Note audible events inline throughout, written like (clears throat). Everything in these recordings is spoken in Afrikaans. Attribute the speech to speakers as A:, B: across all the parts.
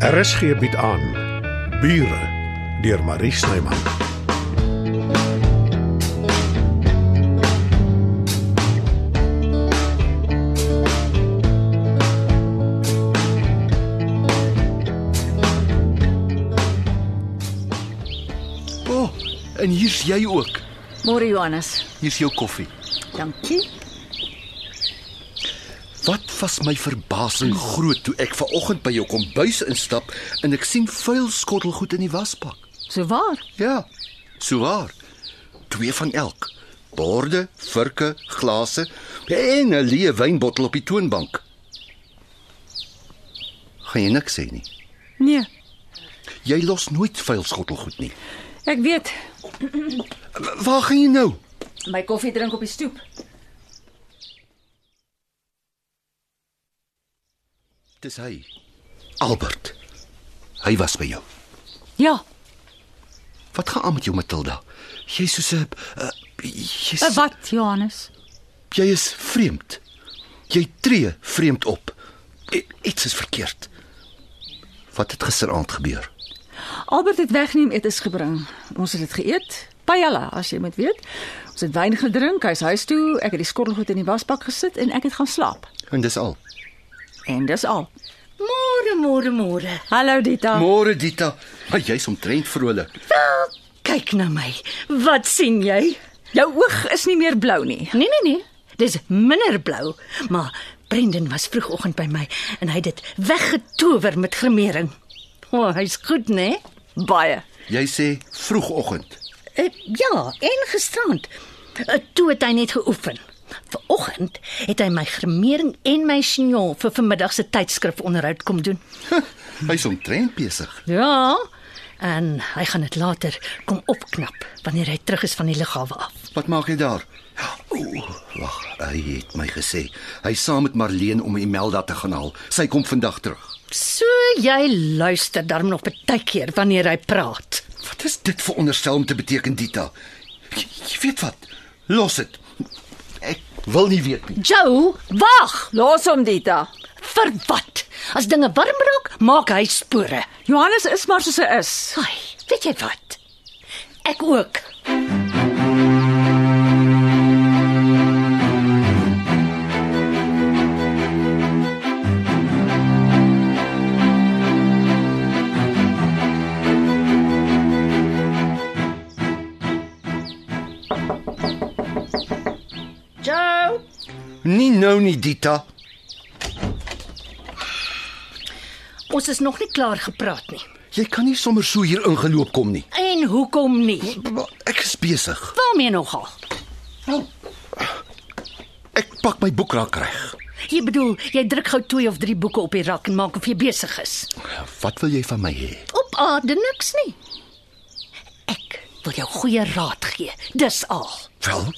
A: RSG bied aan Bure deur Marie Snyman.
B: O, oh, en hier's jy ook.
C: Môre Johannes.
B: Hier's jou koffie.
C: Dankie.
B: Wat was my verbasing groot toe ek vanoggend by jou kombuis instap en ek sien vuil skottelgoed in die wasbak.
C: So waar?
B: Ja, so waar. Twee van elk. Borde, vurke, glase en 'n leë wynbottel op die toonbank. Gaan jy niks sê nie.
C: Nee,
B: Jy los nooit vuil skottelgoed nie.
C: ek weet.
B: W- Waar gaan jy nou?
C: My koffie drink op die stoep.
B: Dis hy. Albert. Hy was by jou.
C: Ja,
B: Wat gaan aan met jou Matilda? Jy's soos 'n uh, jy's
C: eh, wat Johannes?
B: jy is vreemd. Jy tree vreemd op. I, iets is verkeerd. Wat het gisteraand gebeur?
C: Albert het wegneem etes gebring. Ons het dit geëet. Paella, as jy moet weet. Ons het wyn gedrink, hy's huis toe, ek het die skottelgoed in die wasbak gesit en ek het gaan slaap.
B: En dis al.
C: En dis al.
D: Môre, môre, môre.
C: Hallo Dita.
B: Môre Dita, maar jy's omtrent vrolik.
D: Kyk na my. Wat sien jy?
C: Jou oog is nie meer blou nie.
D: Nee, nee, nee. Dis minder blou, maar Brendan was vroegoggend by my en hy het dit weggetower met grimering. O, oh, hy's goed, né? Nee?
C: Baie.
B: Jy sê vroegoggend.
D: Uh, ja, en gisterand. Uh, toe het hy net geoefen. Vanoggend het hy my grimering en my chignon vir vanmiddag se tydskrif-onderhoud kom doen.
B: Hy's omtrent besig.
D: Ja. En hy gaan dit later kom opknap wanneer hy terug is van die lughawe af.
B: Wat maak jy daar? Ooh, wag, hy het my gesê hy's saam met Marleen om Imelda te gaan haal. Sy kom vandag terug.
D: So jy luister darm nog baie keer wanneer hy praat.
B: Wat is dit vir onderstel om te beteken, Dita? Jy, jy weet wat? Los dit. Ek wil nie weet nie.
D: Jou, wag.
C: Los hom Dita.
D: Vir wat? As dinge warm raak, maak hy spore.
C: Johannes is maar soos hy is.
D: Ai, weet jy wat? Ek ook. Jou,
B: Nie nou nie, Dita.
D: ons is nog nie klaar gepraat nie.
B: Jy kan nie sommer so hier ingeloop kom nie.
D: En hoekom nie?
B: Maar Ek is besig.
D: Waarmee nogal?
B: Ek pak my boekrak reg.
D: Jy bedoel, jy druk gou twee of drie boeke op die rak en maak of jy besig is.
B: Wat wil jy van my hê?
D: Op aarde niks nie. Ek wil jou goeie raad gee. Dis al.
B: Wel,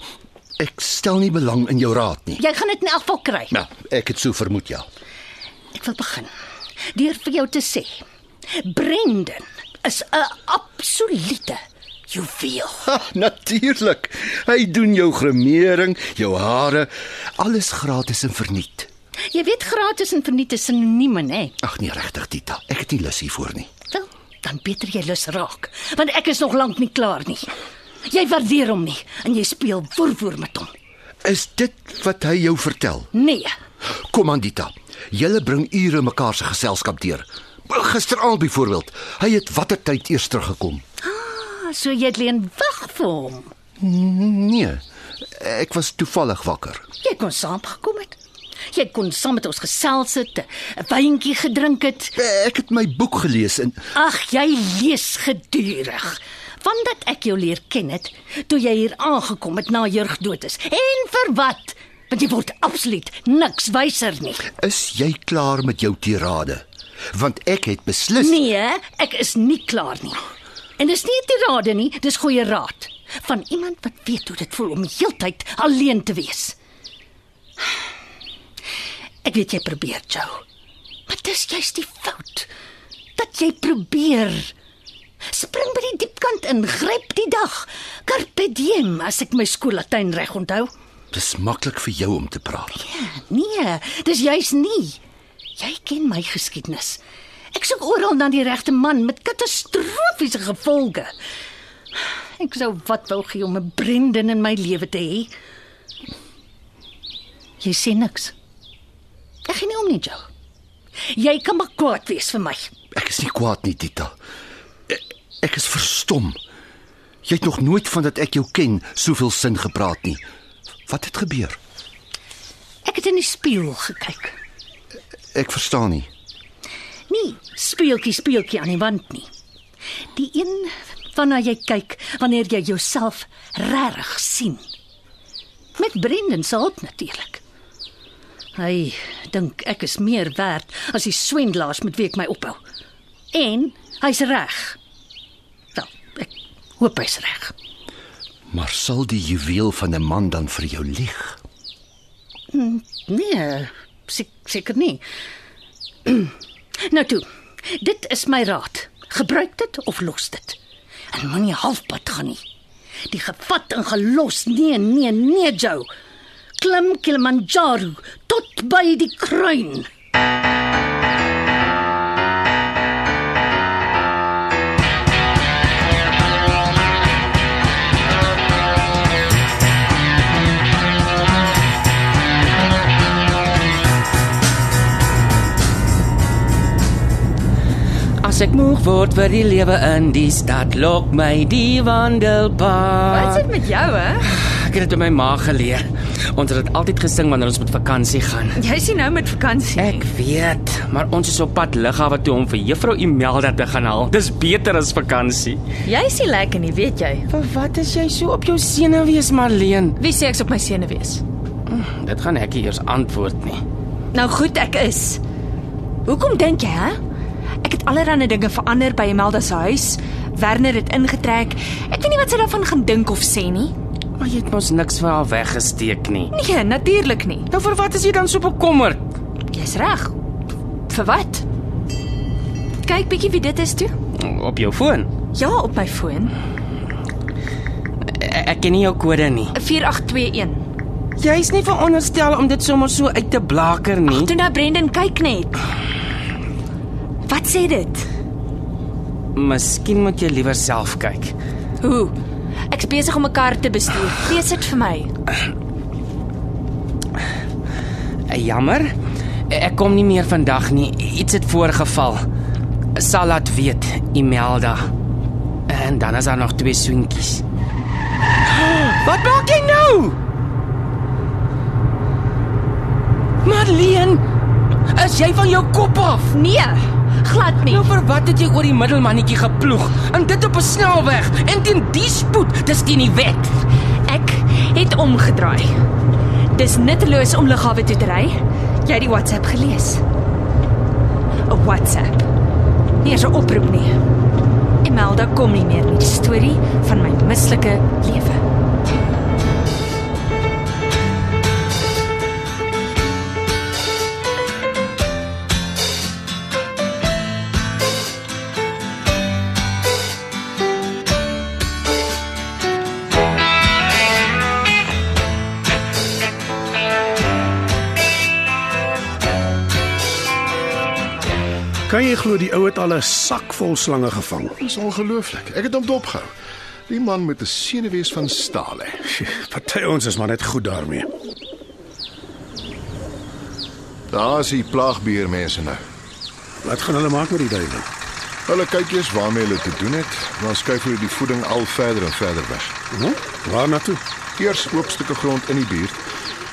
B: ek stel nie belang in jou raad nie.
D: Jy gaan dit in elk geval kry.
B: Ja, ek het so vermoed ja.
D: Ek wil begin deur vir jou te sê. Brendan is 'n absolute juweel.
B: Ha, natuurlik. Hy doen jou grimering, jou hare, alles gratis en verniet.
D: Jy weet gratis en verniet is sinonieme, hè?
B: Ag nee, regtig Tita, ek het nie lus hiervoor nie.
D: Wel, dan beter jy lus raak, want ek is nog lank nie klaar nie. Jy waardeer hom nie en jy speel woerwoer met hom.
B: Is dit wat hy jou vertel?
D: Nee.
B: Kom aan Dita. Julle bring ure mekaar se geselskap deur. Gisteraand byvoorbeeld, hy het watter tyd eers teruggekom?
D: So jy het leen wag vir hom.
B: Nee, ek was toevallig wakker.
D: Jy kon saam gekom het. Jy kon saam met ons gesels het, 'n wyntjie gedrink het.
B: Ek het my boek gelees en
D: Ag, jy lees gedurig. Vandat ek jou leer ken het, toe jy hier aangekom het na Jurg dood is. En vir wat? Want jy word absoluut niks wyser nie.
B: is jy klaar met jou tirade? Want ek het beslis
D: Nee, ek is nie klaar nie. En dis nie 'n tirade nie, dis goeie raad van iemand wat weet hoe dit voel om heeltyd alleen te wees. Ek weet jy probeer, Jou. Maar dis juist die fout dat jy probeer. Spring by die diepkant in, gryp die dag. Carpe diem, as ek my skool Latyn reg onthou.
B: dis maklik vir jou om te praat.
D: Nee, dis juis nie. Jy ken my geskiedenis. Ek soek oral na die regte man met katastrofiese gevolge. Ek sou wat wou gee om 'n Brendan in my lewe te hê. Jy sê niks. Ek gee nie om nie, Joe. Jy kan maar kwaad wees vir my.
B: Ek is nie kwaad nie, Tita. Ek, ek is verstom. Jy het nog nooit van dat ek jou ken soveel sin gepraat nie. Wat het gebeur?
D: Ek het in die spieël gekyk.
B: Ek verstaan nie.
D: Nee, speeltjie speeltjie aan die wand nie. Die een waarna jy kyk wanneer jy jouself regtig sien. Met Brendan se hulp natuurlik. Hy dink ek is meer werd as die swendelaars met wie ek my ophou. En hy's reg. Wel, ek hoop hy's reg.
B: Maar sal die juweel van 'n man dan vir jou lieg?
D: Nee, sek- seker nie. (clears throat) nou toe. Dit is my raad. Gebruik dit of los dit. En moenie halfpad gaan nie. Die gevat en gelos. Nee, nee, nee, Joe. Klim Kilimanjaro tot by die kruin.
E: As ek moeg word vir die lewe in die stad, lok my die
F: Wat
E: wandelpad.
F: sit met jou hè?
E: Ek het dit in my maag geleer. Ons het dit altyd gesing wanneer ons met vakansie gaan.
F: Jy's nie nou met vakansie nie.
E: Ek weet, maar ons is op pad lughawe toe om vir Juffrou Imelda te gaan haal. Dis beter as vakansie.
F: Jy's nie lekker nie, weet jy.
E: Vir wat is jy so op jou senuwees, Marleen?
F: Wie sê ek's op my senuwees?
E: Dit gaan ek nie eers antwoord nie.
F: Nou goed, ek is. Hoekom dink jy hè? Ek het allerlei dinge verander by Imelda se huis. Werner het ingetrek. Ek weet nie wat sy daarvan gaan dink of sê nie.
E: Maar jy het mos niks vir haar weggesteek nie.
F: Nee, natuurlik nie.
E: Nou vir wat is jy dan so bekommerd?
F: Jy's reg. Vir wat? Kyk bietjie wie dit is toe.
E: Op jou foon.
F: Ja, op my foon.
E: E-, Ek, ek ken nie jou kode nie.
F: 4821.
E: Jy's nie veronderstel om dit sommer so uit te blaker nie.
F: Toe nou Brendan kyk net. Wat sê dit?
E: Miskien moet jy liewer self kyk.
F: Hoe? Ek's besig om 'n kar te bestuur. Lees dit vir my.
E: Eh, Jammer. Eh, Ek kom nie meer vandag nie. Iets het voorgeval. Sal laat weet, Imelda. Eh, En dan is daar nog twee soentjies. (gasps) Wat maak jy nou? Marleen, is jy van jou kop af?
F: Nee, glad nie.
E: Nou vir wat het jy oor die middelmannetjie geploeg? En dit op 'n snelweg en teen die spoed, dis teen die wet.
F: Ek het omgedraai. Dis nutteloos om lughawe toe te ry. Jy het die WhatsApp gelees. 'n WhatsApp. Nie eens 'n oproep nie. Imelda kom nie meer nie. Die storie van my mislike lewe.
A: Kan jy glo die ou het al 'n sak vol slange gevang?
G: Dis ongelooflik. Ek het hom dopgehou. Die man met 'n senuwees van staal. hè.
A: Party ons is maar net goed daarmee.
G: Daar is die plaagbeer mense nou.
A: Wat gaan hulle maak met die duiwel?
G: Hulle kyk eers waarmee hulle te doen het, dan skuif hulle die voeding al verder en verder weg.
A: Hm? Waar na toe?
G: Eers oop stukke grond in die buurt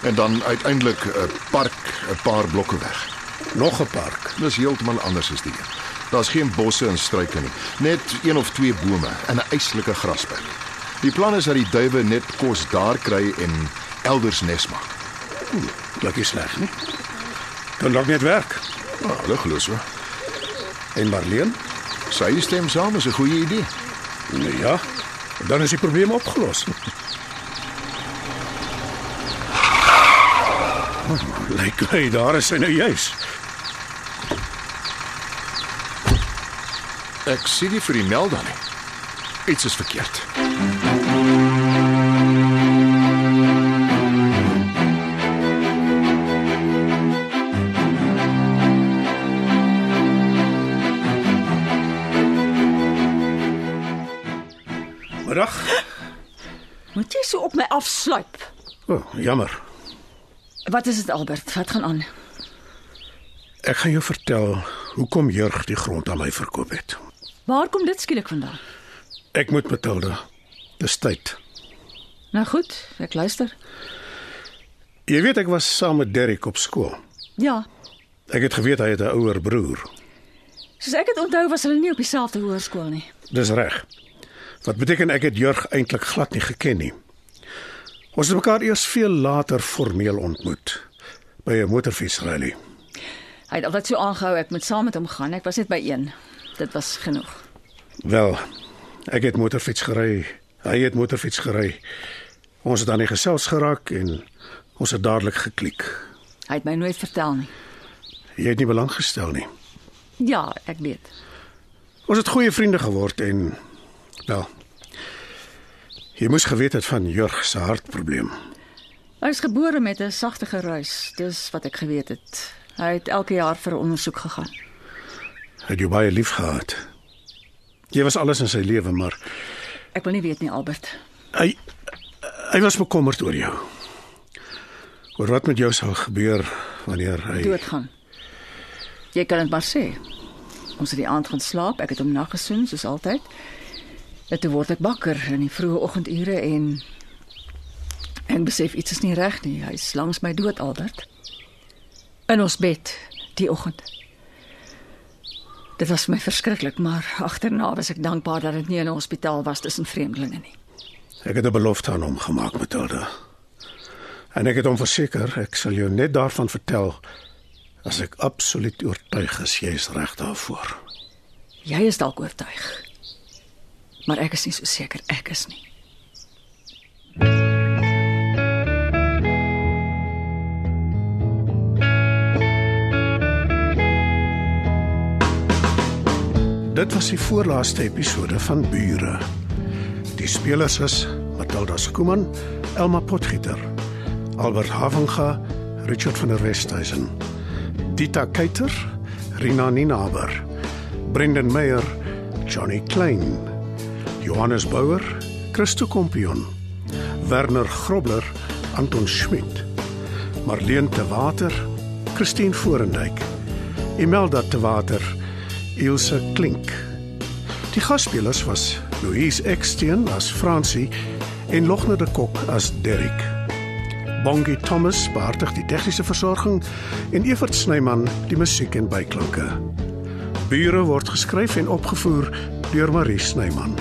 G: en dan uiteindelik 'n park 'n paar blokke weg.
A: Nog 'n park.
G: Dis heeltemal anders as die een. Daar's geen bosse en struike nie, net een of twee bome en 'n yslike grasperk. Die plan is dat die duwe net kos daar kry en elders nes maak.
A: Klink nie sleg nie. Kan dalk net werk.
G: Nou, hulle glo so.
A: En Marleen?
G: Sy stem saam is 'n goeie idee.
A: Nee, ja. Dan is die probleem opgelos. Lyk hy daar is hy nou juis.
G: Ek sien nie vir die meld dan nie. Iets is verkeerd.
A: Middag.
C: Moet jy so op my afsluip?
A: O, oh, jammer.
C: Wat is dit Albert? Wat gaan aan?
A: Ek gaan jou vertel hoekom Jurg die grond aan my verkoop het.
C: Waar kom dit skielik vandaan?
A: Ek moet Matilda. Dis tyd.
C: Nou goed, ek luister.
A: Jy weet ek was saam met Derrick op skool.
C: Ja.
A: Ek het geweet hy het 'n ouer broer.
C: Soos ek dit onthou was hulle nie op dieselfde hoërskool nie.
A: Dis reg. Wat beteken ek het Jurg eintlik glad nie geken nie. Ons het mekaar eers veel later formeel ontmoet by 'n motorfietsrally.
C: Hy het altyd so aangehou ek moet saam met hom gaan. Ek was net by een. Dit was genoeg.
A: Wel, ek het motorfiets gery. Hy het motorfiets gery. Ons het dan nie gesels geraak en ons het dadelik geklik.
C: Hy het my nooit vertel nie.
A: Jy het nie belang gestel nie.
C: Ja, ek weet.
A: Ons het goeie vriende geword en wel. Jy moes geweet het van Jurg se hartprobleem.
C: Hy is gebore met 'n sagte geruis, dis wat ek geweet het. Hy het elke jaar vir 'n ondersoek gegaan.
A: Hy het jou baie lief gehad. Jy was alles in sy lewe, maar
C: Ek wil nie weet nie, Albert.
A: hy hy was bekommerd oor jou. Oor wat met jou sal gebeur wanneer hy
C: Doodgaan. Jy kan dit maar sê. Ons het die aand gaan slaap. Ek het hom naggesoen soos altyd. En toe word ek wakker in die vroeë oggendure en en besef iets is nie reg nie. Hy's langs my dood, Albert. In ons bed die oggend. Dit was vir my verskriklik, maar agterna was ek dankbaar dat dit nie in 'n hospitaal was tussen vreemdelinge nie.
A: Ek het 'n belofte aan hom gemaak, Matilda. En ek het hom verseker, ek sal jou net daarvan vertel as ek absoluut oortuig is jy is reg daarvoor.
C: Jy is dalk oortuig. Maar ek is nie so seker ek is nie.
A: Dit was die voorlaaste episode van Bure. Die spelers is Matilda Skuman, Elma Potgieter, Albert Havenga, Richard van der Westhuizen, Dita Keiter, Rina Ninaber, Brendan Meyer, Johnny Klein, Johannes Bouwer, Christo Kompion, Werner Grobler, Anton Schmidt, Marleen te Water, Christine Forendyk, Imelda te Water, Ilse Klink. Die gasspelers was Louise Eksteen as Francie en Logne de Kok as Derrick. Bongi Thomas beheerdig die tegniese versorging en Evert Snyman die musiek en byklanke. Bure word geskryf en opgevoer deur Marie Snyman.